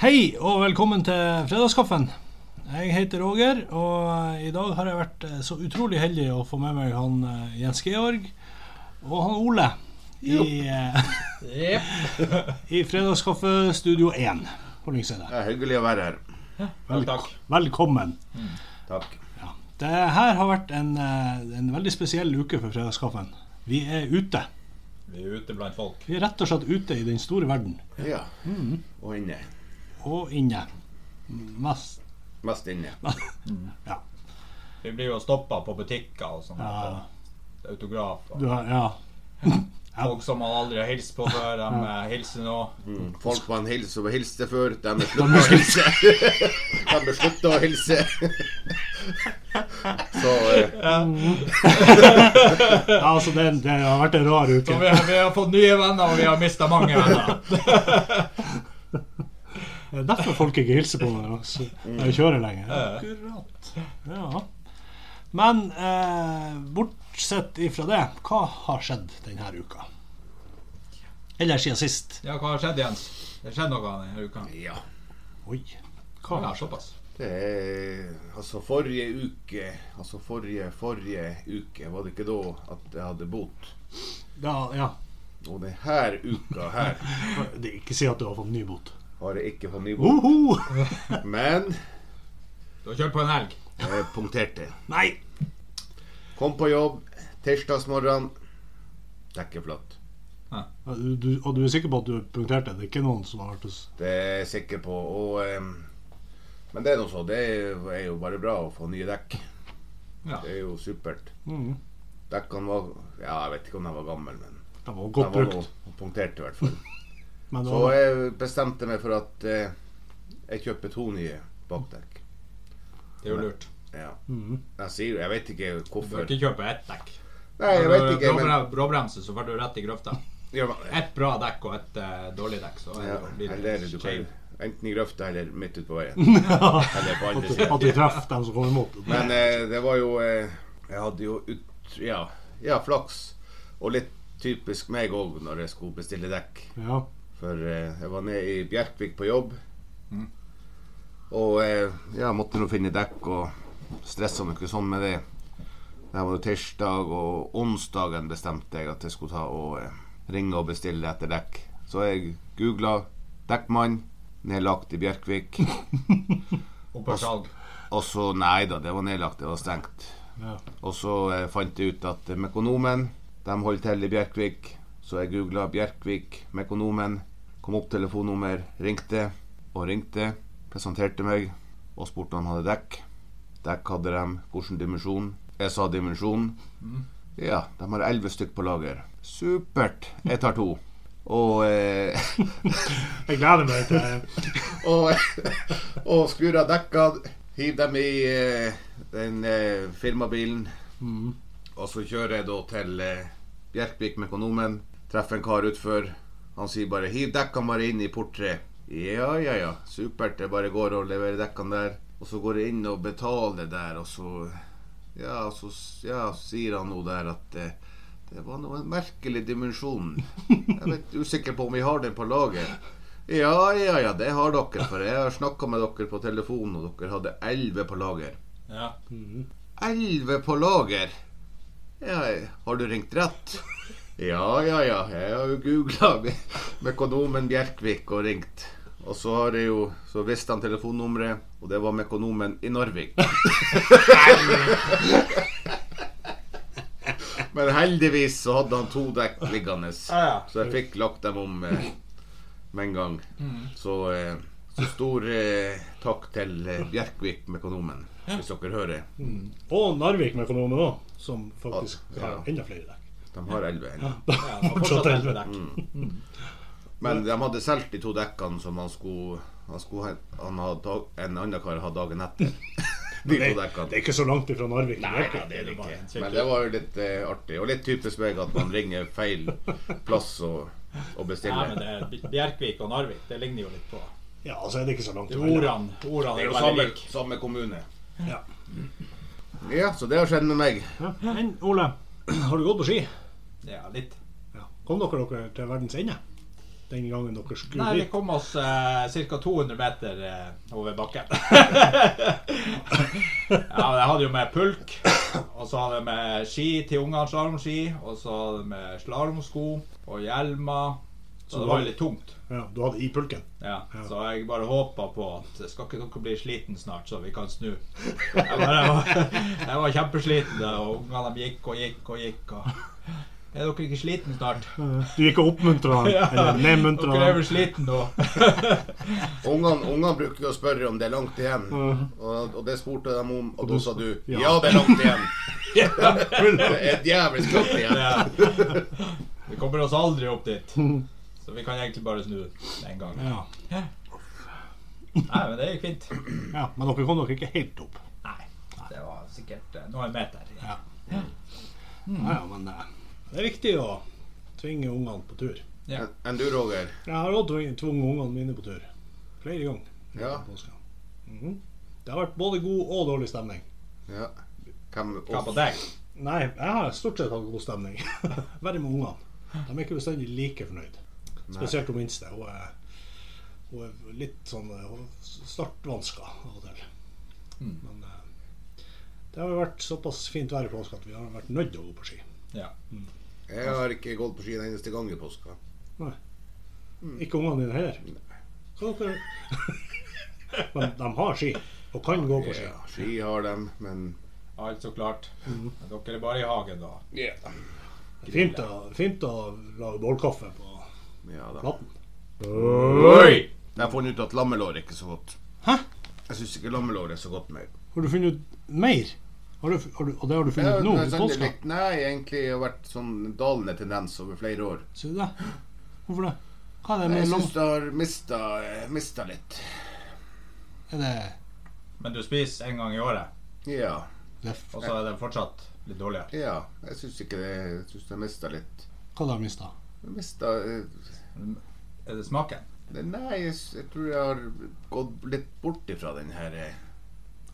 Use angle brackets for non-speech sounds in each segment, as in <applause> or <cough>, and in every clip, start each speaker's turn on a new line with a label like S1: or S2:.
S1: Hei og velkommen til fredagskaffen. Jeg heter Roger, og i dag har jeg vært eh, så utrolig heldig å få med meg han eh, Jens Georg og han Ole i, eh, i Fredagskaffe Studio 1 på Lyngseidet.
S2: Det er hyggelig å være her.
S3: takk.
S1: Velkommen.
S2: Takk.
S1: Det her har vært en, eh, en veldig spesiell uke for Fredagskaffen. Vi er ute.
S3: Vi er ute blant folk.
S1: Vi er rett og slett ute i den store verden.
S2: Ja. Og inne.
S1: Og inne. Mest.
S2: Mest inne.
S3: Vi blir jo stoppa på butikker og sånn.
S1: Ja.
S3: og Autograf. Og
S1: Du har, ja.
S3: folk som man aldri har hilst på før, de eh, hilser nå.
S2: Mm. Folk man hilser og hilste før, de er slutta å hilse. <laughs> De er slutta å hilse. <laughs> Så eh,
S1: ja altså det, det har vært en rar
S3: Så
S1: uke.
S3: vi, har- vi har fått nye venner, og vi har mista mange venner.
S1: Det er derfor folk ikke hilser på meg altså, når jeg kjører lenger. Akkurat. Ja. Men eh, bortsett ifra det, hva har skjedd denne uka? Eller siden sist?
S3: Ja, hva har skjedd, Jens? Det har skjedd noe denne uka?
S2: ja.
S1: Oi. Hva har
S3: Ja,
S1: skjedd?
S3: såpass.
S2: Det er, altså forrige uke Altså forrige, forrige uke var det ikke da at jeg hadde bot.
S1: Ja, ja.
S2: Og denne uka her
S1: Det, ikke si at du har fått ny bot.
S2: har jeg ikke fått ny bot.
S1: Oho!
S2: Men
S3: Du har kjørt på en elg.
S2: jeg punkterte.
S1: Nei!
S2: Kom på jobb tirsdagsmorgen. Dekket flatt.
S1: Du, du, og du er sikker på at du punkterte? Det er ikke noen som har vært hos
S2: Det er jeg sikker på. Og, ehm, men det er nå så. Det er jo- er jo bare bra å få nye dekk.
S3: Ja.
S2: Det er jo supert.
S1: mm.
S2: Dekkene var Ja, jeg vet ikke om de var gamle, men
S1: Det var
S2: de
S1: godt
S2: var nå
S1: brukt.
S2: punktert i hvert fall.
S1: Men det
S2: Så
S1: var,
S2: jeg bestemte meg for at eh, jeg kjøper to nye bakdekk.
S3: Det er jo lurt.
S2: Ja.
S1: mm. <laughs>
S2: Jeg sier jo Jeg vet
S3: Du
S2: ikke
S3: bør
S2: hvorfor.
S3: ikke kjøpe ett dekk.
S2: Nei, jeg vet ikke,
S3: Bråbre-
S2: men
S3: Bråbremse, så får du rett i grøfta.
S2: ja, men-
S3: Ett bra dekk og ett eh, dårlig dekk, så
S2: ja,
S3: eh, blir
S2: Eller
S3: det
S2: du
S3: skeiv.
S2: kan Enten i grøfta eller midt ute på veien. Eller på andre siden.
S1: At du treffer dem som kommer imot.
S2: Men eh, det var jo eh, Jeg hadde jo ut, ja, ja, flaks. Og litt typisk meg òg når jeg skulle bestille dekk.
S1: Ja.
S2: For eh, jeg var nede i Bjerkvik på jobb.
S3: Mm.
S2: Og eh, ja, måtte nå finne dekk og stressa nå ikke sånn med det. Det var jo tirsdag, og onsdagen bestemte jeg at jeg skulle ta og eh, ringe og bestille etter dekk. Så jeg googla 'dekkmann', nedlagt i Bjerkvik.
S3: Opp på salg.
S2: Og så Nei da, det var nedlagt. Det var stengt.
S1: ja.
S2: Og så eh, fant jeg ut at eh, Mekonomen de holder til i Bjerkvik. Så jeg googla Bjerkvik, Mekonomen, kom opp telefonnummer, ringte og ringte. Presenterte meg og spurte om han hadde dekk. Dekk hadde de. Hvilken dimensjon? Jeg sa dimensjon. Ja, de har elleve stykk på lager. Supert! Jeg tar to. Og eh, <laughs>
S1: Jeg gleder meg til
S2: og, og skrur av dekka, hiv dem i eh, den eh, firmabilen.
S1: Mm.
S2: Og så kjører jeg da til eh, Bjerkvik med økonomen. Treffer en kar utfor. Han sier bare 'hiv dekkene bare inn i porttre'. Ja, ja, ja. Supert. Jeg bare går og leverer dekkene der. Og så går jeg inn og betaler der, og så Ja, så s- ja, sier han nå der at eh, det var nå en merkelig dimensjon. Jeg er litt usikker på om vi har den på lager. Ja, ja, ja, det har dere, for jeg har snakka med dere på telefon, og dere hadde elleve på lager.
S3: Ja.
S1: Mm.
S2: Elleve på lager? Ja, har du ringt rett? Ja, ja, ja, jeg har jo googla Mekonomen Bjerkvik og ringt. Og så har jeg jo Så visste han telefonnummeret, og det var Mekonomen i Narvik. Men heldigvis så hadde han to dekk liggende,
S3: Ja, ja.
S2: så jeg fikk lagt dem om eh, med en gang. Så, eh, så stor eh, takk til eh, Bjerkvik Mekonomen, hvis dere hører.
S1: Og Narvik med økonomen òg, som faktisk
S2: Ja.
S1: har enda flere dekk.
S2: De har elleve ennå.
S1: <laughs>
S3: Ja, det var fortsatt
S1: Fortsatt
S3: elleve dekk.
S2: Men de hadde solgt de to dekkene som han skulle, han skulle ha- han hadde dag, En annen kar hadde dagen etter.
S1: Det,
S2: De to
S1: det er
S2: dekkene.
S1: ikke så langt ifra Narvik. til Bjerkvik.
S3: Nei, det er det bare en kjekk-
S2: Men det var jo litt eh, artig, og litt typisk meg at man ringer feil plass og, og
S3: Nei, men
S2: bestiller.
S3: det er Bjerkvik og Narvik, det ligner jo litt på.
S1: Ja, altså er det ikke så langt
S3: Det er
S1: ifra.
S3: Ordene ordene er
S2: Det er
S3: jo
S2: jo
S3: veldig
S2: samme,
S3: like.
S2: samme kommune.
S1: Ja.
S2: Ja, så det har skjedd med meg.
S1: Ja. Men Ole, <clears throat> har du gått på ski?
S3: Ja, litt.
S1: Ja. Kom dere dere til verdens ende? den gangen dere skulle
S3: Nei, vi
S1: dit?
S3: kom oss eh, ca. 200 meter eh, over <laughs> bakken. ja, men Jeg hadde jo med pulk, og så hadde jeg med ski til ungene, slalåmski, og så hadde jeg med slalåmsko og hjelmer. Så,
S1: Så
S3: det
S1: da-
S3: var jo litt tungt.
S1: Ja, du hadde i pulken?
S3: Ja,
S1: Ja.
S3: Så jeg bare håpa på at skal ikke dere bli sliten snart, så vi kan snu. Jeg, bare, jeg, var, jeg var kjempesliten, og ungene de gikk og gikk og gikk. Og, er dere ikke sliten snart?
S1: Du gikk og
S3: <laughs>
S1: oppmuntra han, eller nedmuntra
S3: Dere er
S1: han?
S3: vel sliten
S1: <laughs>
S3: nå?
S2: Ungene ungene bruker jo å spørre om det er langt igjen, og, og det spurte de om, og da sa du
S1: Ja.
S2: ja, det er langt igjen.
S3: Ja.
S2: Det er djevelsk langt igjen.
S3: Ja. Vi kommer oss aldri opp dit. Så vi kan egentlig bare snu en gang.
S1: Ja.
S3: Nei, men det gikk fint.
S1: ja, Men dere kom dere ikke helt opp?
S3: Nei, det var sikkert eh, noen meter.
S1: Ja.
S3: Mm.
S1: Ja, ja, men eh, det er viktig å tvinge ungene på tur.
S3: Ja.
S2: Enn- Enn du, Roger?
S1: Jeg har òg tvunget ungene mine på tur. Flere ganger. i
S2: Ja.
S1: løpet av påsken. Mhm. Det har vært både god og dårlig stemning.
S2: ja. Hvem,
S3: Hva på deg?
S1: Nei, jeg har stort sett hatt god stemning. <laughs> Bare med ungene. De er ikke bestandig like fornøyd. Spesielt hun minste. Hun er, hun er litt sånn eh, hun er startvansker av og til.
S3: Mm.
S1: Men eh, det har jo vært såpass fint vær i påske at vi har vært nødt til å gå på ski.
S3: Ja.
S2: Jeg har ikke gått på ski en eneste gang i påska.
S1: Nei.
S2: Mm.
S1: Ikke ungene dine heller. Hva dere... <laughs> Men de har ski, og kan gå på ski.
S2: Ja, ski har dem, men
S3: Alt så klart.
S1: Mm.
S3: Men Dere er bare i hagen, da.
S2: ja.
S1: Det er Fint å, fint å lage bålkaffe på
S2: da.
S1: platten.
S3: Oi!
S2: Jeg har funnet ut at lammelår er ikke så godt.
S1: Hæ?
S2: Jeg syns ikke lammelår er så godt mer.
S1: Har du funnet ut mer? Har du, har du, og det har du
S2: Jeg
S1: funnet
S2: har
S1: ut nå? i
S2: bestandig
S1: påska?
S2: likt- sånn Nei, egentlig har det vært sånn dalende tendens over flere år.
S1: Sier du det? Hvorfor det? Hva er det
S2: Jeg
S1: med lam...
S2: syns det har mista, mista litt.
S1: Er det,
S3: Men du spiser en gang i året,
S2: Ja.
S1: det er f-
S3: og så er det fortsatt litt dårligere.
S2: ja. Jeg syns ikke det Jeg syns det har mista litt.
S1: Hva har du mista?
S2: Jeg mista eh,
S3: Er det smaken?
S2: det- Nei, jeg, s- jeg tror jeg har gått litt bort ifra den her eh,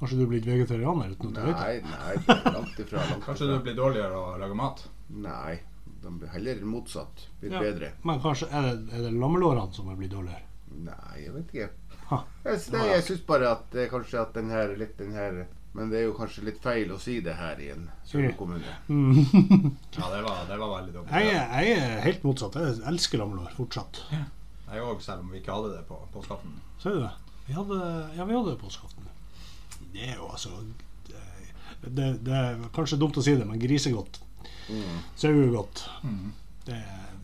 S1: Har ikke du blitt vegetarianer uten at du vet det?
S2: Nei, nei, langt ifra. Langt
S3: Kanskje du
S2: ifra.
S3: blir dårligere å lage mat?
S2: Nei. De blir heller motsatt. Blir
S1: Ja.
S2: bedre.
S1: Men kanskje er det, er det lammelårene som er blitt dårligere?
S2: Nei, jeg vet ikke.
S1: Ha.
S2: Jeg, s- nei, jeg syns bare at eh, kanskje at den her litt den her Men det er jo kanskje litt feil å si det her i en
S1: Sier du?
S2: kommune.
S1: Mm. <laughs>
S3: Ja, det var, det var veldig dumt.
S1: jeg, er- jeg er helt motsatt. Jeg elsker lammelår fortsatt.
S3: Jeg òg, selv om vi ikke hadde det på, på skatten.
S1: Ser du det? Vi hadde, ja, vi hadde det på skatten. Det er jo altså det, det, det er kanskje dumt å si det, men grisegodt.
S2: Mm.
S1: Sauegodt. Det,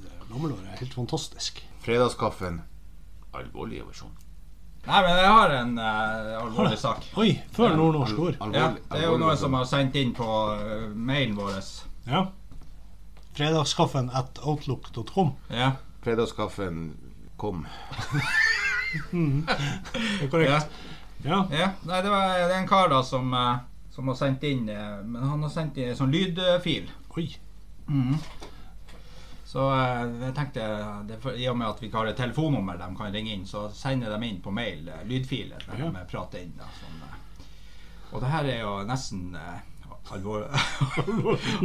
S1: det, lammelår er helt fantastisk.
S2: Fredagskaffen. Alvorlig versjon.
S3: Nei, men jeg har en eh, alvorlig sak.
S1: Oi, før nordnorsk ord.
S3: Ja, det er jo noen som har sendt inn på eh, mailen vår.
S1: Ja. Fredagskaffen at outlook.com.
S3: Ja.
S2: Fredagskaffen kom.
S1: Det er
S3: Ja.
S1: korrekt. Ja.
S3: ja. Nei, det, var, det er en kar da som, eh, som har sendt inn eh, Men han har sendt inn en sånn lydfil.
S1: Oi. <laughs> Mm-hmm.
S3: Så eh, jeg tenkte det, er for, I og med at vi ikke har et telefonnummer de kan ringe inn, så sender de inn på mail eh, lydfiler. Der
S1: Ja.
S3: de prater inn da, sånn, eh. Og det her er jo nesten eh, alvor...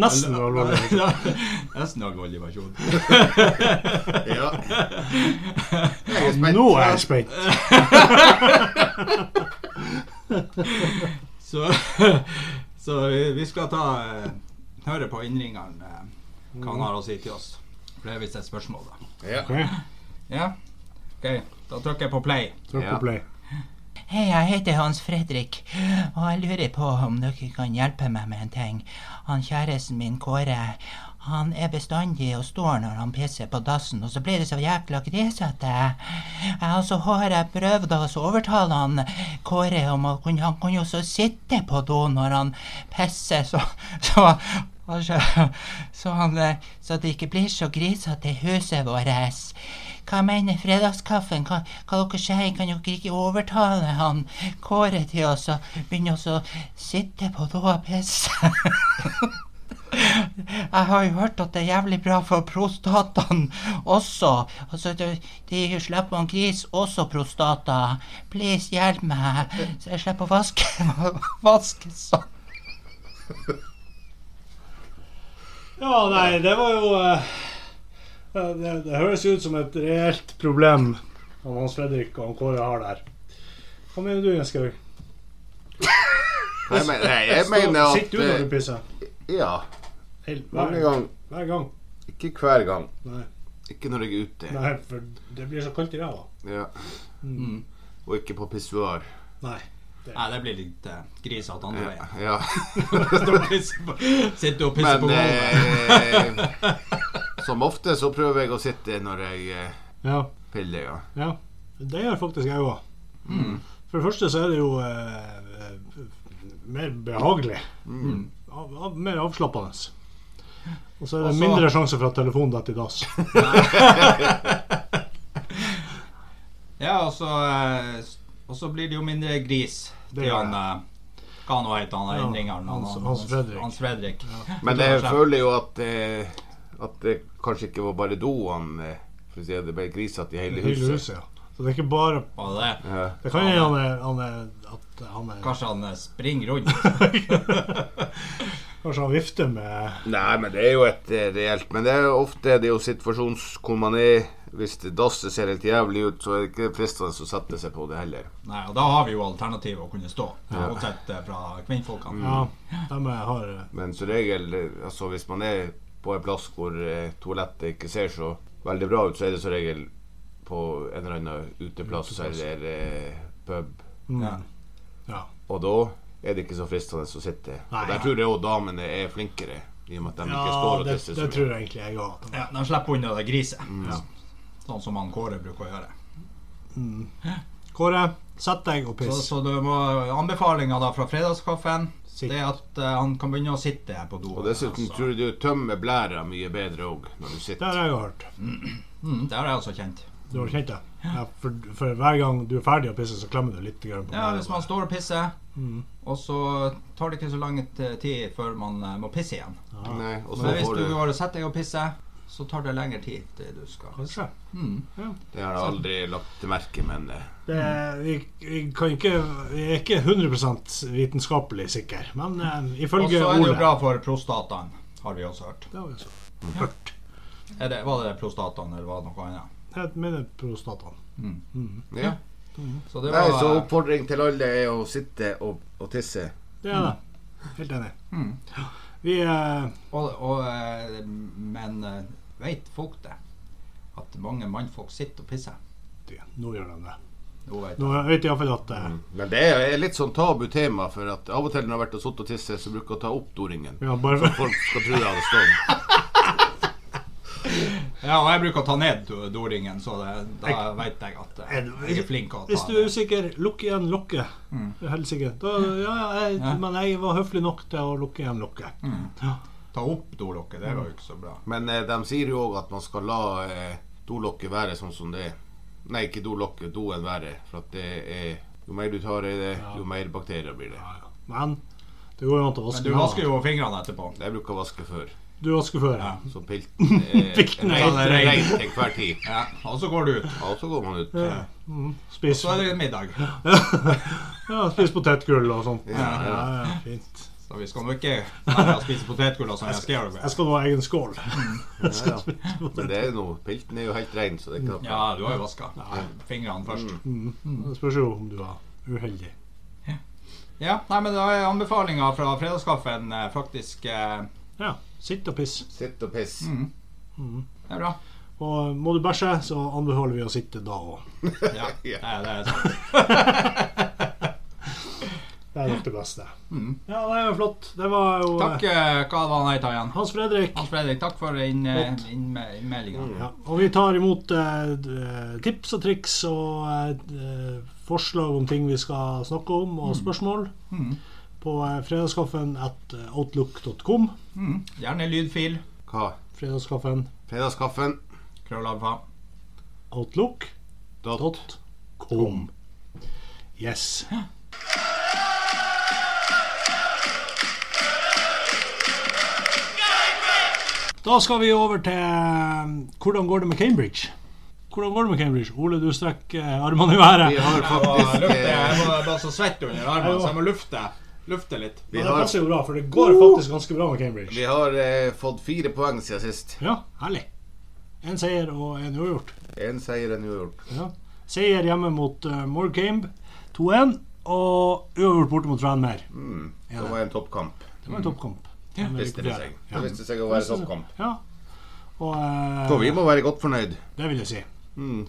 S1: Nesten alvorlig.
S3: nesten alvorlig versjon. <laughs>
S1: <laughs>
S2: Ja. Jeg er spent.
S1: Nå er jeg spent.
S3: Så, så vi, vi skal ta eh, høre på innringeren eh,
S1: Mm.
S3: hva han har å si til oss. For det er visst et spørsmål, da.
S2: Ja.
S1: Ok,
S3: Ja? OK, da trykker jeg på play.
S1: Trykk på
S2: Ja.
S1: play.
S4: Hei, jeg heter Hans Fredrik, og jeg lurer på om dere kan hjelpe meg med en ting. Han kjæresten min, Kåre, han er bestandig og står når han pisser på dassen, og så blir det så jækla grisete. Eh, Og så har jeg prøvd å så overtale han Kåre om å kunne Han kan jo så sitte på do når han pisser, så, så Altså, så, han, eh, så det ikke blir så grisete i huset vårt. Hva mener fredagskaffen? Hva, hva dere sier? Kan dere ikke overtale han Kåre til oss å begynne oss å sitte på do og pisse? <laughs> Jeg har jo hørt at det er jævlig bra for prostataen også. Altså, de, de slipper man gris også prostata. Please, hjelp meg, så jeg slipper å vaske, <laughs> vaske sånn.
S1: Ja, nei, det var jo eh, Eh, Det, det høres ut som et reelt problem om Hans Fredrik og han Kåre har der. Hva mener du, Jens Gaug?
S2: Nei, men- nei, jeg
S1: Stå-
S2: mener at
S1: Sitter du når du
S2: eh,
S1: pisser?
S2: Ja.
S1: Hel-
S2: Mange
S1: Hver,
S2: ganger.
S1: hver gang.
S2: Ikke hver gang.
S1: Nei.
S2: Ikke når jeg er ute.
S1: Nei, for det blir så kaldt i ræva.
S2: Ja.
S1: Mm.
S2: Og ikke på pissoar.
S1: Nei.
S3: Nei, det blir litt uh, grisete andre veien. <laughs>
S2: Ja.
S3: Sitter og pisser på- Sitter og pisser på
S2: Men
S3: gulvet.
S2: eh, <laughs> som ofte så prøver jeg å sitte når jeg eh,
S1: Ja.
S2: piller, ja.
S1: ja. Det gjør faktisk jeg òg.
S2: Mm.
S1: For det første så er det jo eh, eh, mer behagelig.
S2: Mm.
S1: Av, av, mer avslappende. Og så er det
S3: Og så-
S1: mindre sjanse for at telefonen detter i dass.
S3: Ja, og så, eh, s- og så blir det jo mindre gris
S1: Det
S3: til
S1: gjør
S3: han eh, Hva nå heter han der
S1: Ja,
S3: innringeren? Han-
S1: Hans-
S3: han-
S1: Hans Fredrik.
S3: Hans Fredrik.
S2: Men jeg føler jo at eh, At det kanskje ikke var bare doene eh, For å si det, det ble grisete i hele
S1: Hele
S2: huset.
S1: huset, ja. Så det er ikke bare
S3: Var det det?
S2: Ja.
S1: Det kan hende han er, han er at han er
S3: Kanskje han eh, springer rundt?
S2: <laughs>
S1: <laughs> Kanskje han vifter med
S2: Nei, men det er jo et eh, reelt Men det er jo ofte det er jo situasjons hvor man er Hvis det dasset ser helt jævlig ut, så er det ikke fristende å sette seg på det heller.
S3: Nei, og da har vi jo alternativet å kunne stå, motsatt eh, fra kvinnfolkene.
S1: Ja, de er- har eh,
S2: Men som regel, eh, altså hvis man er på en plass hvor eh, toalettet ikke ser så veldig bra ut, så er det som regel på en eller annen uteplass, eller eh, pub.
S1: mm.
S3: Ja.
S1: Ja.
S2: Og da er det ikke så fristende å sitte.
S1: Nei.
S2: og der tror jeg òg damene er flinkere, i og med at de ikke
S1: Ja,
S2: står og
S1: det,
S2: tisser
S1: det
S2: så
S1: tror
S2: mye.
S1: jeg egentlig jeg òg.
S3: Ja, de slipper unna det griset,
S2: Mm.
S1: Ja.
S3: sånn som han Kåre bruker å gjøre.
S1: Kåre, sett deg og
S3: Så,
S1: piss.
S3: så du må anbefalinga da fra fredagskaffen
S1: Sitt.
S3: det er at eh, han kan begynne å sitte på do. altså.
S2: Og dessuten tror jeg du tømmer blæra mye bedre òg når du
S1: Det har
S2: sitter.
S1: jeg jo hørt.
S3: mm, Det har jeg også kjent.
S1: Du har kjent det? Ja, for, for hver gang du er ferdig å pisse, så klemmer du litt grann på
S3: Ja,
S1: meg.
S3: hvis man står og pisser,
S1: Mm.
S3: og så tar det ikke så lang t- tid før man eh, må pisse igjen.
S2: Nei, og så
S3: Men hvis
S2: får
S3: du
S2: du
S3: har satt deg og pisser, så tar det lengre tid til du skal
S1: Kanskje.
S3: mm.
S2: Det har jeg aldri lagt til merke, men eh,
S1: Det, vi, vi, kan ikke, vi er ikke 100 vitenskapelig sikre, men eh,
S3: Og
S1: ifølge
S3: så er det
S1: Ole
S3: jo bra for prostataen, har vi også hørt.
S1: Det har vi så hørt.
S3: Er det, var det prostataen, eller var det noe annet?
S1: Jeg mener prostataen.
S2: ja.
S3: Så det
S2: Nei,
S3: var
S2: så oppfordring til alle er å sitte og, og tisse.
S1: Det er det. Mm. Helt enig.
S3: Mm.
S1: Ja. Vi eh,
S3: og, og, eh, Men eh, vet folk det? At mange mannfolk sitter og pisser?
S1: det- Nå gjør de det.
S3: Nå vet
S1: Nå vet jeg iallfall at
S3: Mm.
S1: eh,
S2: Men det er et litt sånn tabu tema, for at av og til når jeg har vært og sittet og tisset, så bruker jeg å ta opp doringen.
S1: ja, bare <laughs>
S3: <laughs>
S1: for,
S2: Folk skal tro jeg hadde stått.
S3: Ja, og jeg bruker å ta ned do- doringen, så det, da vet jeg at eh,
S1: Er du-
S3: jeg er flink til å
S1: Hvis
S3: ta
S1: du er usikker, lukk igjen lokket. Helsike. Da, ja, jeg,
S3: Mm. Ja. Mm.
S1: Men jeg var høflig nok til å lukke igjen lokket. Ja.
S3: Ta opp dolokket, det var jo ikke så bra.
S2: Men eh, de sier jo òg at man skal la eh, dolokket være sånn som det er. Nei, ikke dolokket, doen være. For at det er Jo mer du tar i det, jo mer bakterier blir det.
S1: Ja, ja. Men det går jo an å vaske
S3: Men du
S1: hendene.
S3: vasker jo fingrene etterpå.
S2: Jeg bruker å vaske før,
S1: Du vasker før. Ja.
S3: Ja.
S2: så pilten er
S1: Pilten er
S3: helt
S2: rein rein
S3: rein.
S2: til enhver tid.
S3: Ja, og så går du ut.
S2: Ja, og så går man ut.
S1: Mm. Spis,
S3: Så er det middag.
S1: <laughs> ja, spis potetgull og sånt. Ja,
S2: Ja,
S1: ja,
S2: ja.
S1: fint.
S3: Så vi skal nå ikke lære å spise potetgull og sånn. Jeg skal gjøre det.
S1: Jeg skal nå ha egen skål.
S3: Mm.
S1: <laughs>
S2: Ja, ja. Men det er jo noe Pilten er jo helt rein, så det er ikke
S3: Ja, du har jo vaska fingrene først.
S1: Det spørs jo om du var uheldig.
S3: Ja, nei, men da er anbefalinga fra fredagskaffen eh, faktisk eh,
S1: Ja, sitt og piss.
S2: Sitt og piss.
S3: Det er bra.
S1: Og må du bæsje, så anbefaler vi å sitte da òg.
S3: Ja, det er, det er sant.
S1: Det er nok det beste. Ja, det er jo flott. Det var jo
S3: Takk, eh, hva var han het igjen?
S1: Hans Fredrik.
S3: Hans Fredrik, takk for inn- eh, innme- innmeldinga.
S1: Ja, og vi tar imot eh, d- tips og triks og eh, forslag om ting vi skal snakke om, og spørsmål på eh, fredagskaffen at eh, outlook.com.
S3: Mm. Gjerne lydfil.
S2: Hva?
S1: Fredagskaffen
S2: Fredagskaffen.
S3: Krøllalfa.
S1: outlook.com.
S2: Dot.
S1: Yes. Da skal vi over til eh, hvordan går det med Cambridge? Hvordan går det med Cambridge? Ole, du strekker eh, armene i været.
S2: Vi har
S3: Jeg var,
S2: faktisk
S3: lufte,
S2: eh,
S3: jeg var bare så svett under armene, så jeg må lufte, lufte litt.
S2: Vi
S1: Men det
S2: har,
S1: passer jo bra, for det går faktisk ganske bra med Cambridge.
S2: vi har eh, fått fire poeng siden sist.
S1: Ja, herlig. En seier og en uavgjort.
S2: Én seier er uavgjort.
S1: Ja. Seier hjemme mot uh, Morecambe 2-1, og uavgjort borte mot Tranmere.
S2: Mm.
S1: Ja.
S2: Det var en toppkamp,
S1: Det var en toppkamp. Ja,
S2: viste det seg.
S1: Ja.
S2: Det viste seg å være toppkamp.
S1: Ja. Og
S2: Så vi
S1: eh,
S2: må være godt fornøyd.
S1: det vil jeg si.
S2: Mm.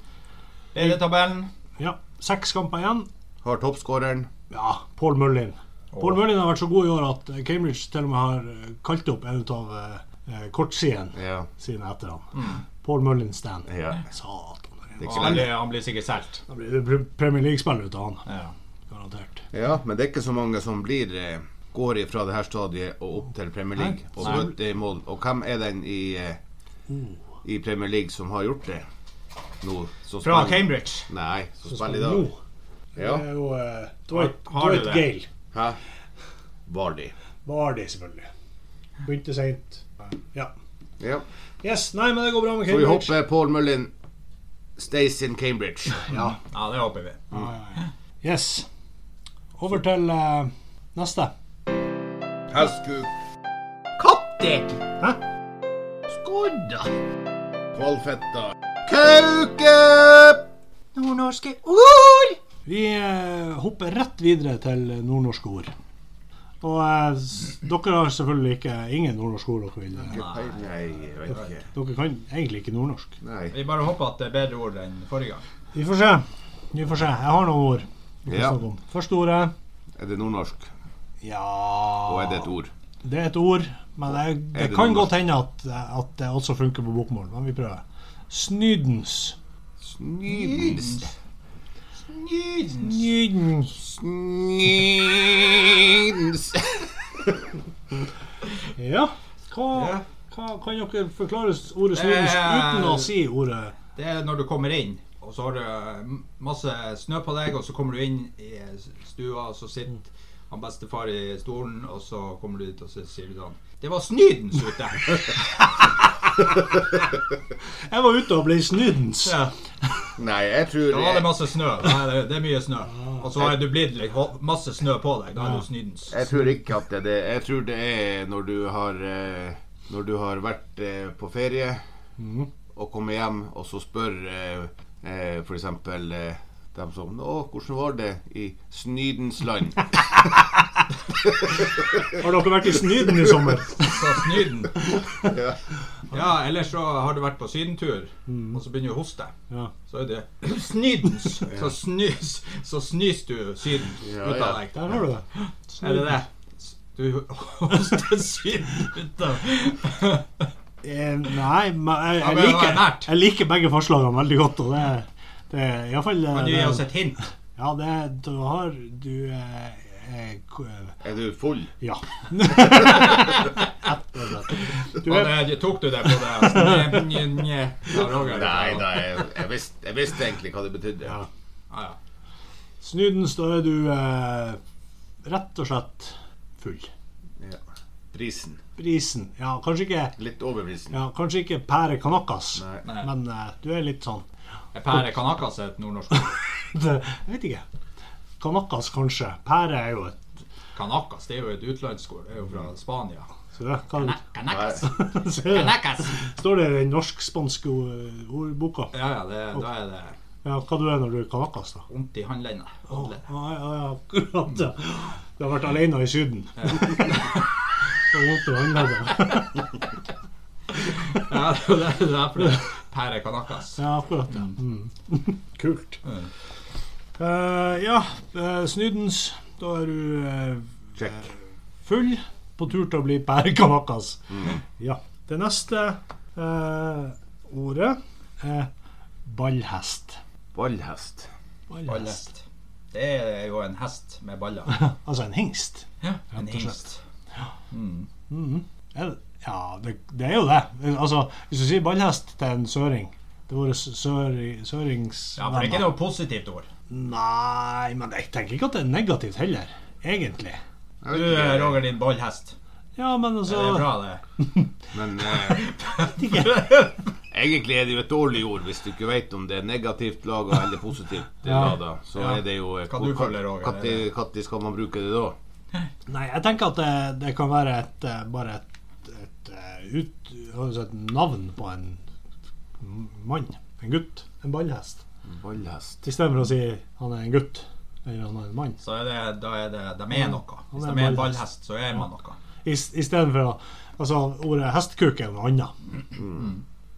S3: Ledetabellen.
S1: Ja. Seks kamper igjen.
S2: Har toppskåreren.
S1: Ja, Paul Mullin. Paul Mullin har vært så god i år at eh, Cambridge til og med har eh, kalt opp en av eh, kortsidene
S2: Ja. Mm.
S1: sine etter han. Paul Mullin Stan.
S2: ja.
S1: Satan.
S2: Det er
S3: Og
S2: ikke
S3: Han,
S2: lenge.
S3: blir- han blir sikkert solgt.
S1: Da blir det Premier League-spiller ut av han.
S3: Ja.
S1: Garantert.
S2: Ja, men det er ikke så mange som blir eh, går ifra det her stadiet og opp til Premier League og
S3: Nei.
S2: møter i mål. Og hvem er den i, eh, i Premier League som har gjort det nå? som
S3: Fra
S2: spiller-
S3: Cambridge.
S2: Nei, som spiller i
S1: Nå
S2: dag. Ja.
S1: det er jo eh, Dwight,
S3: Har- har du
S1: Dwight
S3: det?
S1: Gale.
S2: Hæ? Vardy.
S1: Vardy, selvfølgelig. Begynte seint. Ja.
S2: Ja.
S1: Yes, nei, men det går bra med
S2: Så vi
S1: Cambridge.
S2: håper Paul Mullin stays in <laughs> Cambridge.
S1: Ja.
S3: Ja, det håper vi.
S1: Yes. Over til eh, neste.
S2: Hestkuk,
S3: Kattek!
S1: Hæ?
S3: Skodda!
S2: kvalfetta, kauke!
S4: Nordnorske ord!
S1: Vi eh, hopper rett videre til nordnorske ord. Og eh, s- dere har selvfølgelig ikke ingen nordnorske ord dere vil. eh.
S2: Nei, jeg vet ikke.
S1: Dere kan egentlig ikke nordnorsk.
S2: Nei.
S3: Vi bare håper at det er bedre ord enn forrige gang.
S1: Vi får se. Vi får se. Jeg har noen ord. vi kan
S2: Ja.
S1: snakke om. Første ordet
S2: Er det nordnorsk?
S1: Ja
S2: Og er det et ord?
S1: Det er et ord, men det, det,
S2: det
S1: kan
S2: nordnorsk?
S1: godt hende at, at det også funker på bokmål. Men vi prøver. Snydens.
S2: Snydens.
S1: Snydens.
S2: Snydens.
S1: Ja. Hva,
S3: Ja.
S1: hva kan dere forklare s- ordet snydens
S3: Eh.
S1: uten å si ordet
S3: Det er når du kommer inn, og så har du eh, masse snø på deg, og så kommer du inn i stua, og så sitter han bestefar i stolen, og så kommer du dit, og så sier du sånn Det var snydens ute!
S1: Jeg var ute og ble snydens.
S3: <laughs> Ja.
S2: Nei, jeg tror
S3: Da var det masse snø. Da er det- det er mye snø. Og så har du blitt litt ho- masse snø på deg. Da er du snydens.
S2: Jeg tror ikke at det er det. Jeg tror det er når du har eh, Når du har vært eh, på ferie og kommer hjem, og så spør eh, eh, for eksempel eh, dem som Å, hvordan var det i Snydens <laughs> land?
S1: Har dere vært i Snyden i sommer?
S3: Så snyden.
S2: <laughs>
S3: Ja, ellers så har du vært på sydentur, og så begynner du å hoste.
S1: Ja.
S3: Så er det <clears throat> snydens! Så snys, så snys du syden
S2: Ja,
S3: ut av
S2: ja.
S3: deg.
S1: Der har du det.
S3: Er det det? Du hoster syden ut av <laughs>
S1: Eh, nei, men jeg,
S3: Ja,
S1: jeg,
S3: men det var
S1: liker,
S3: nært.
S1: jeg liker begge forslagene veldig godt. Og det, det er iallfall
S3: Kan du gi oss et hint?
S1: eh, Ja, det du har Du eh, eh, ko- eh,
S2: Er du full?
S1: Ja. Du
S3: Og
S1: er,
S3: det, tok du det på Altså, det? Snø, nje, nje. Ja, Roger.
S2: Nei, nei, jeg, jeg, visste, jeg visste egentlig hva det betydde.
S1: ja.
S3: Ja, ja.
S1: Snydens, da er du eh, rett og slett full.
S2: Ja. Prisen.
S1: Brisen. Ja, kanskje ikke
S2: Litt over prisen.
S1: ja, Kanskje ikke pære kanakas,
S2: Nei.
S3: Nei.
S1: men eh, du er litt sånn <laughs>
S3: Er Pære kanakas et nordnorsk ord?
S1: Det- Jeg vet ikke. Kanakas, kanskje. Pære er jo et
S3: Kanakas det er jo et utenlandsk ord. Det er jo fra Spania.
S1: Så det kan
S3: Kanakas.
S1: <laughs> Så det- Står det i den norsk-spanske ord- ordboka?
S3: Ja, ja, det, da er det
S1: Ja, hva du er når du er kanakas, da?
S3: vondt i håndleddene.
S1: Ja, ja, ja, akkurat. Ja. Du har vært alene i Syden. <laughs> Så vondt i håndleddet.
S3: <laughs> Ja, det er derfor det er Pære kanakas.
S1: Ja, akkurat. Ja. Mm. <laughs> Kult. Eh, ja, eh, snydens. Da er du eh,
S2: Check.
S1: full på tur til å bli pærekanakas.
S3: Mm.
S1: Ja. Det neste eh, ordet er ballhest.
S2: Ballhest.
S3: Ballhest. Det er jo en hest med baller.
S1: Altså en hingst.
S3: En
S1: Rett og slett.
S3: hingst.
S1: Er det? Ja, det, det er jo det. Altså, Hvis du sier ballhest til en søring Det er våre sør,
S3: Ja, for det er ikke
S1: søringsvenner
S3: noe positivt ord.
S1: Nei, men jeg tenker ikke at det er negativt heller. Egentlig.
S2: Jeg
S3: Du,
S2: vet ikke,
S3: Roger, din ballhest.
S1: Ja, men
S3: Det
S1: altså
S3: er bra, det.
S2: Men eh, egentlig er det jo et dårlig ord hvis du ikke vet om det er negativt laga eller positivt
S1: Ja.
S2: laga. Så
S3: Ja.
S2: er det jo
S3: Kan du følge, Roger, eller?
S2: Når skal man bruke det da?
S1: Nei, jeg tenker at det, det kan være et, eh, bare et, et, eh, ut, altså et navn på en mann, en gutt, en ballhest.
S2: Ballhest.
S1: Istedenfor å si han er en gutt eller han er en mann.
S3: <laughs> Så er det, da er det De er noe. Hvis
S1: Ja,
S3: de
S1: det er
S3: er en
S1: ballhest.
S3: ballhest, så er man noe.
S1: Istedenfor å Altså, ordet hestkuk er noe annet.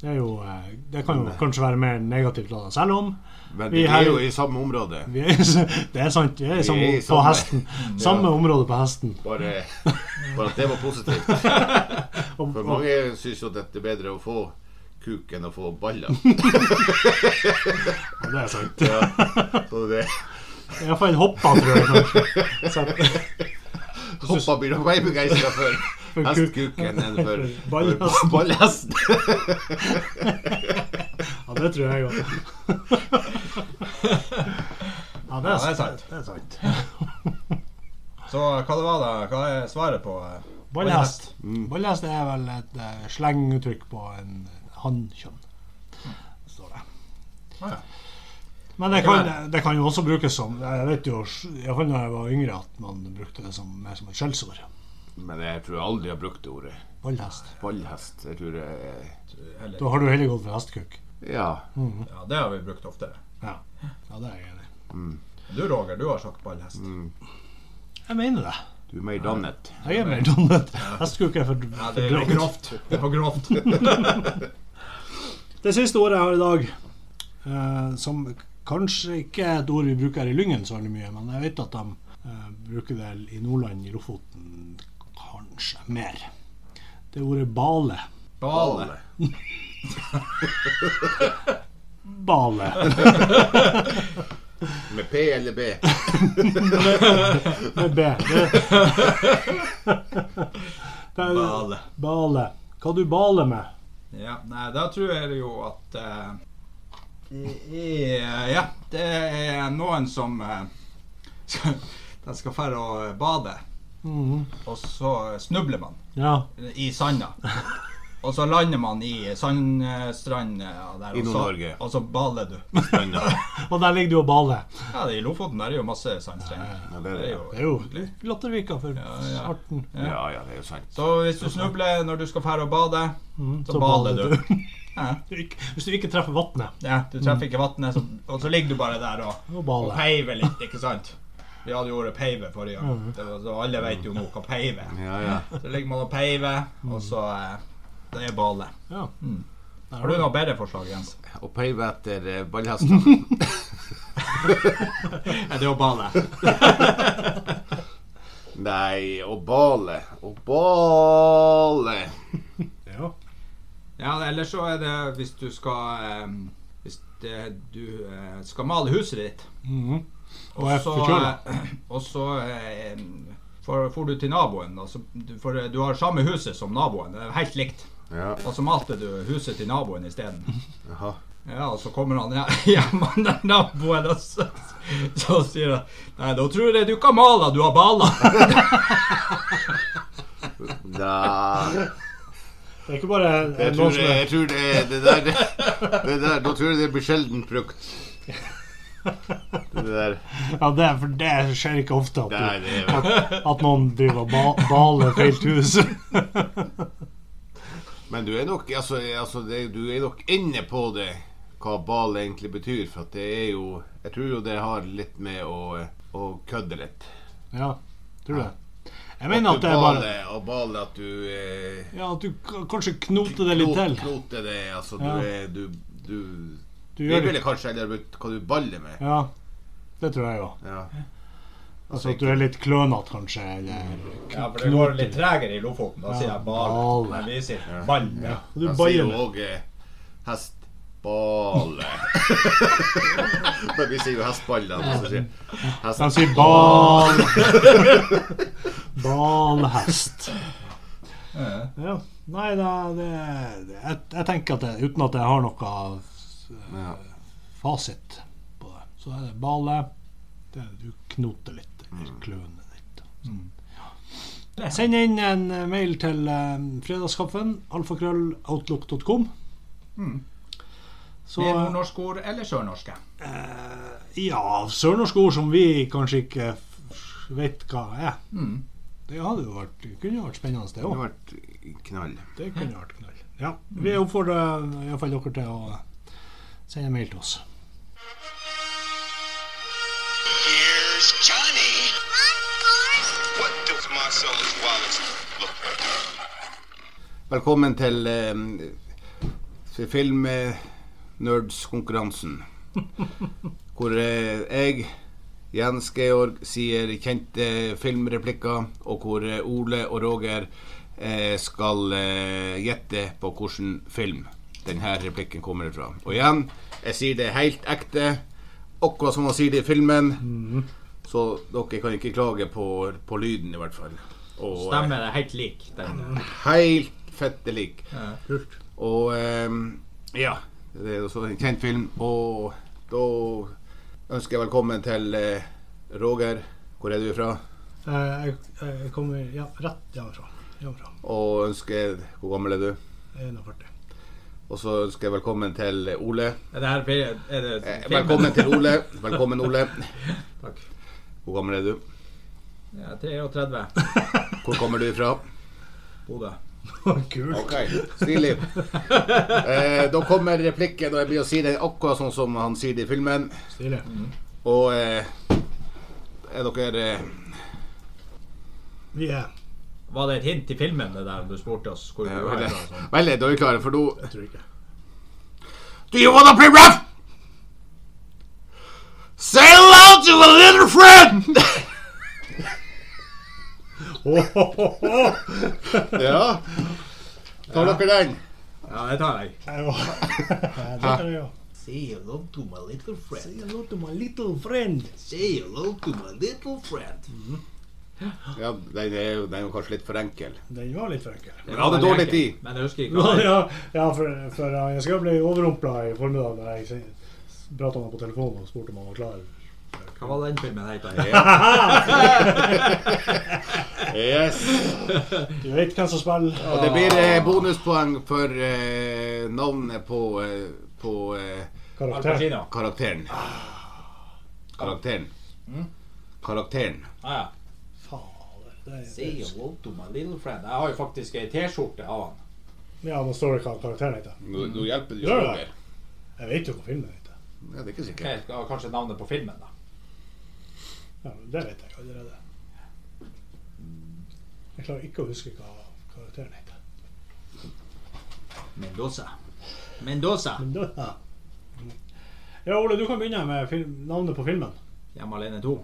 S1: Det er jo eh, Det kan jo kanskje være mer negativt lada, selv om
S2: Men
S1: Vi
S2: vi er
S1: har-
S2: jo i samme område.
S1: <laughs> vi er, Det er sant, vi er i samme,
S2: Vi er i
S1: på
S2: samme- <laughs>
S1: hesten. Samme område på hesten.
S2: Bare, bare at det var positivt.
S1: Og, <laughs>
S2: For
S1: og,
S2: mange syns jo at det er bedre å få kuk enn å få baller.
S1: og det er sant.
S2: Ja, så det
S1: Iallfall hoppa, tror jeg. kanskje. Så-
S2: Hoppa blir nok mer begeistra for hestkuken enn for for
S1: Ballhesten.
S2: ballhesten.
S1: Ja, det tror jeg òg.
S3: <laughs>
S1: Ja, det
S3: Ja,
S1: er
S3: det er
S1: sant.
S3: sant.
S1: Det er
S3: <laughs>
S1: sant.
S3: Så hva det var da? Hva er svaret på eh,
S1: Ballhest.
S3: Mm.
S1: Ballhest er vel et eh, slenguttrykk på en hannkjønn. Står det.
S3: Ah, ja.
S1: Men det kan, det kan jo også brukes som Jeg vet jo, iallfall da jeg var yngre, at man brukte det som, mer som et skjellsord.
S2: Men jeg tror jeg aldri har brukt det ordet.
S1: Ballhest.
S2: Ballhest. Jeg tror jeg
S3: Eller,
S1: Da har du heller gått for hestkuk.
S2: Ja.
S3: ja, det har vi brukt oftere.
S1: Ja. ja, det er jeg enig i.
S3: Du Roger, du har sagt ballhest.
S1: Jeg mener det.
S2: Du er mer dannet.
S1: Jeg er mer donnet. Hestkuk er for,
S3: Ja,
S1: for
S3: det er for
S1: drøyt.
S3: grovt. Det er for grovt.
S1: Det siste ordet jeg har i dag, eh, som kanskje ikke er et ord vi bruker her i Lyngen så veldig mye, men jeg vet at de eh, bruker det i Nordland, i Lofoten, kanskje mer. Det er ordet bale.
S3: Bale.
S1: Bale. <laughs>
S2: Med P eller B?
S1: Med B. Det, det er
S3: Bale.
S1: bale. Hva du baler med?
S3: Ja, nei, da tror jeg jo at eh, det er, Ja, det er noen som eh, skal, <laughs> De skal dra og bade,
S1: Mhm.
S3: og så snubler man
S1: Ja.
S3: i sanda. Og så lander man i sandstranda der,
S2: I
S3: og så,
S2: Nord-Norge.
S3: og så baler du.
S2: Danna.
S1: Og der ligger du og baler.
S3: Ja, det er I Lofoten der er jo masse sandstrender.
S2: Ja, det er det.
S1: Det er jo Lattervika for
S3: ja.
S1: arten.
S2: Ja, ja, det er jo sant.
S3: Så hvis du snubler når du skal dra og bade,
S1: Mm,
S3: så baler du. Ja.
S1: Du ikke- Hvis du ikke treffer vannet,
S3: Ja, du treffer ikke vannet, så- og så ligger du bare der og,
S1: Og
S3: og
S1: baler.
S3: peiver litt, ikke sant? Vi hadde jo ordet peive forrige gang, Det var- så alle vet jo nå hva peive er.
S2: Ja, ja.
S3: Så ligger man og peiver, og så eh, Det er bale. Mm.
S1: Ja. Der
S3: Har du noe bedre forslag, Jens?
S2: Og peive etter eh, ballhestene.
S3: Er det å bale?
S2: Nei, og bale. Og bale.
S1: Ja.
S3: Ja, eller så er det hvis du skal eh, Hvis det, du eh, skal male huset ditt,
S1: Mhm. Og
S3: og
S1: er
S3: så,
S1: forkjøla.
S3: eh, <clears throat> og så eh, får, får du til naboen. Altså, du, for eh, du har samme huset som naboen. Det er helt likt.
S2: Ja,
S3: Og så malte du huset til naboen isteden.
S2: jaha.
S3: Ja, <laughs> og så kommer han hje- hjem han der naboen, og så, så sier han Nei, da tror jeg du ikke har mala, du har bala.
S2: Da.
S1: Det er ikke bare
S2: Jeg tror,
S1: noen som
S2: det,
S1: er
S2: jeg tror det, det, der, det, der Da tror jeg det blir sjeldent brukt. Det der
S1: Ja, det er, for det skjer ikke ofte at,
S2: Nei,
S1: du,
S2: det er
S1: at, at noen driver og ba, baler feil hus.
S2: Men du er nok altså, altså det, Du er nok inne på det hva ball egentlig betyr, for at det er jo Jeg tror jo det har litt med å, å kødde litt.
S1: Ja, tror du det? Jeg mener at
S2: du
S1: det er bare
S2: baler, og baler at du eh,
S1: Ja, at du k- kanskje knoter det litt til.
S2: knot- knoter det, altså
S1: Ja.
S2: du er Du, du,
S1: Du
S2: Vi
S1: gjør det.
S2: ville kanskje heller brukt hva du baller med.
S1: Ja, det tror jeg jo.
S2: Ja.
S1: Altså at du er litt klønete, kanskje. Eller
S3: Ja, for det går litt tregere i Lofoten. Da sier jeg
S1: Bale.
S3: bale. Men vi sier balle.
S1: Og du
S2: Han sier
S1: baller
S2: jo
S1: med.
S2: òg hestbale. <laughs> Men vi sier jo hestballer. og Så sier hest,
S1: Han sier bal... Balhest.
S3: Ja.
S1: Ja. Nei, da, det, det, jeg, jeg tenker at det, uten at jeg har noe eh,
S2: Ja.
S1: fasit på det, så er det bale. Det, er- du knoter litt, eller kløner litt. Ja. Send inn en eh, mail til eh, fredagskaffen, alfakrølloutlook.com. Så
S3: Mer nordnorske ord eller sørnorske?
S1: ja, sørnorske ord som vi kanskje ikke f- vet hva er.
S3: Mm.
S1: Det hadde jo vært, kunne jo vært spennende, det
S2: Det
S1: òg.
S2: har vært knall.
S1: Det kunne vært knall. Ja,
S3: Mm.
S1: vi oppfordrer iallfall dere til å sende mail til oss.
S5: Here's Johnny. What do Marcella's wallets look like?
S2: Velkommen til eh, til filmnerdskonkurransen. Hvor eh, jeg, Jens Georg, sier kjente filmreplikker, og hvor eh, Ole og Roger eh, skal eh, gjette på hvilken film denne replikken kommer fra. Og igjen, jeg sier det helt ekte, akkurat som man sier det i filmen. Så dere kan ikke klage på, på lyden, i hvert fall. Og, eh,
S3: Stemmen er helt lik den.
S2: Helt fette lik.
S3: Ja.
S2: Og ehm, ja, det er også en kjent film. Og da ønsker jeg velkommen til eh, Roger. Hvor er du fra?
S1: Eh, Jeg, jeg kommer ja, rett hjemmefra. hjemmefra.
S2: Og ønsker Hvor gammel er du?
S1: 41.
S2: Og så ønsker jeg velkommen til Ole.
S3: Er det her fil- er det
S2: Eh,
S3: filmen?
S2: velkommen til Ole. Velkommen, Ole.
S3: Takk.
S2: Hvor gammel er du?
S3: <laughs> Ja, 33.
S2: Hvor kommer du fra?
S3: Bodø.
S1: <laughs> Kult.
S2: Ok, stilig. Eh, da kommer replikken, og jeg blir å si det akkurat sånn som han sier det i filmen.
S1: Stilig.
S3: Mm.
S2: Og eh, er dere eh,
S1: Vi er
S3: Var det et hint til filmen det der du spurte oss hvor vi
S2: Ja,
S3: var
S2: Vel,
S3: fra? og sånn?
S2: vel, da Eh, er vi klare, for nå
S1: Jeg tror ikke.
S2: Do you wanna play rough? Say hello to a little friend! <laughs>
S3: <laughs>
S2: ja. Tar dere den?
S3: Ja, det tar jeg.
S1: Jeg var- Det
S3: <laughs>
S1: kan jeg jo.
S3: Say hello to my little friend.
S1: Say hello to my little friend.
S3: Say hello to my little friend.
S2: Ja, den er jo, den er jo kanskje litt for <laughs> enkel.
S1: Den var litt for enkel.
S2: Vi hadde dårlig tid.
S3: Men jeg husker ikke hva det
S1: Ja, ja, for, for uh, jeg skal bli overrumpla i formiddag da jeg se- pratet med ham på telefonen og spurte om han var klar.
S3: Hva var den filmen het? da?
S2: Yes.
S1: Du vet hvem som spiller?
S2: Og det blir eh, bonuspoeng for eh, navnet på, eh, på eh,
S3: Al
S1: karakter.
S3: Pacino.
S2: karakteren. Ah. Karakteren. Mm. Karakteren.
S3: Ah, ja.
S1: Fader. det er-
S3: Say hello to my little friend. Jeg har jo faktisk ei T-skjorte av han.
S1: Ja, nå står det hva karakteren heter.
S2: Nå, nå hjelper det
S1: Gjør det. Jeg vet jo hva filmen heter.
S2: Ja, det er ikke
S3: Ok,
S2: sikkert.
S3: det var Kanskje navnet på filmen, da.
S1: Ja, men det vet jeg allerede. Jeg klarer ikke å huske hva karakteren heter.
S3: Mendoza. Mendoza.
S1: Men da, ja. ja, Ole, du kan begynne med film, navnet på filmen.
S3: Hjemme alene 2.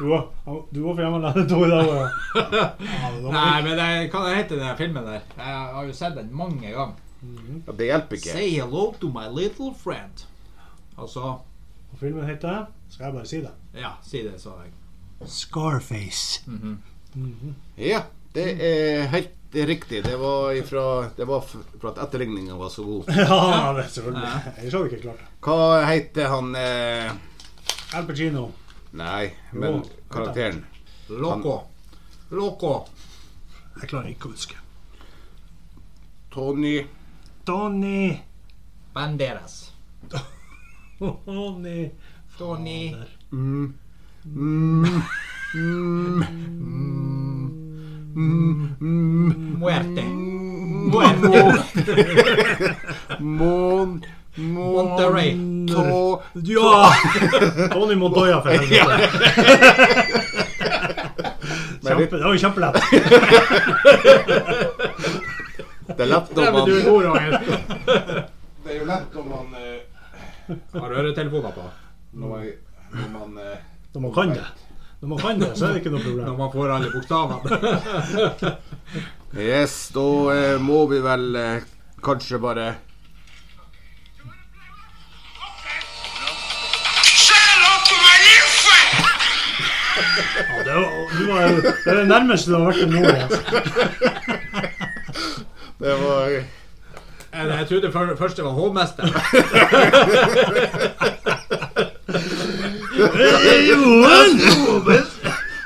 S1: Du var, du var for hjemme alene to i dag.
S3: <laughs>
S1: og- Ja, men da må
S3: Nei, men det, hva heter den filmen der? Jeg har jo sett den mange ganger.
S2: Ja, det hjelper ikke.
S3: Say hello to my little friend. Og så
S1: vi- og Filmen heter Skal jeg bare si det?
S3: Ja, si det, sa jeg.
S1: Scarface.
S2: Ja, det er helt riktig. Det var, ifra, det var f- for at etterligninga var så god.
S1: <laughs> Ja, det er selvfølgelig. Ellers hadde vi ikke klart det.
S2: Hva heter han eh,
S1: Al Pacino.
S2: Nei, men
S1: Jo,
S2: karakteren.
S3: Loco. Loco.
S1: Jeg klarer ikke å huske.
S2: Tony
S1: Donny.
S3: Banderas.
S1: Donny.
S3: Tony. Mm. Mm. Muerte. Muerte.
S2: Mon... Mon...
S3: Monterey.
S2: Tå...
S1: Ja! <laughs> Tony Montoya, for helvete. <laughs> Kjempe, det var jo kjempelett.
S2: Det er lett
S3: Nei, men
S2: om han
S3: du er god, Roger.
S2: Det er jo lett om han eh,
S3: Har øretelefoner på.
S2: Når man, når man eh,
S1: Når man kan det. Når man kan det, så er det ikke noe
S3: Når
S1: problem.
S3: man får alle bokstavene. <laughs>
S2: Yes, da eh, må vi vel eh, kanskje bare
S5: Say hello to my little friend.
S1: Ja, det, var, du var, jo- det er det nærmeste du har vært til nå. Altså.
S2: Det var
S3: Eller, Jeg trodde før- først det var hovmester.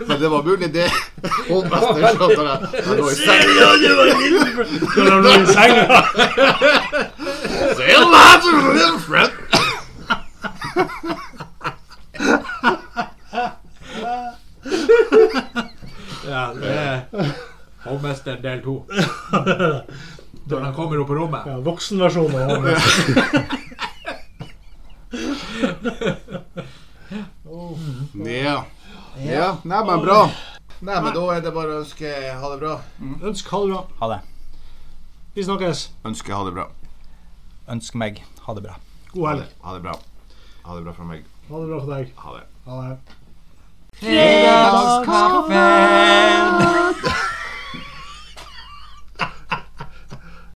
S2: Men det var mulig, det. Hovmester satt der. Han lå i senga.
S1: Når du lå i senga.
S2: Still lots of little friend.
S3: Ja, det Og Mester del to. <laughs> Når han kommer opp på rommet.
S1: Ja, Voksenversjonen av Hovmester.
S2: Ja. ja. Nei, men bra. Nei, men da er det bare å ønske ha det bra.
S1: Ønsk ha det bra.
S4: Ha det.
S1: Vi snakkes.
S2: Ønske ha det bra.
S4: Ønsk meg ha det bra.
S1: God helg.
S2: Ha det bra. Ha det bra fra meg.
S1: Ha det bra for deg.
S2: Ha det.
S1: Ha det.
S4: Fredags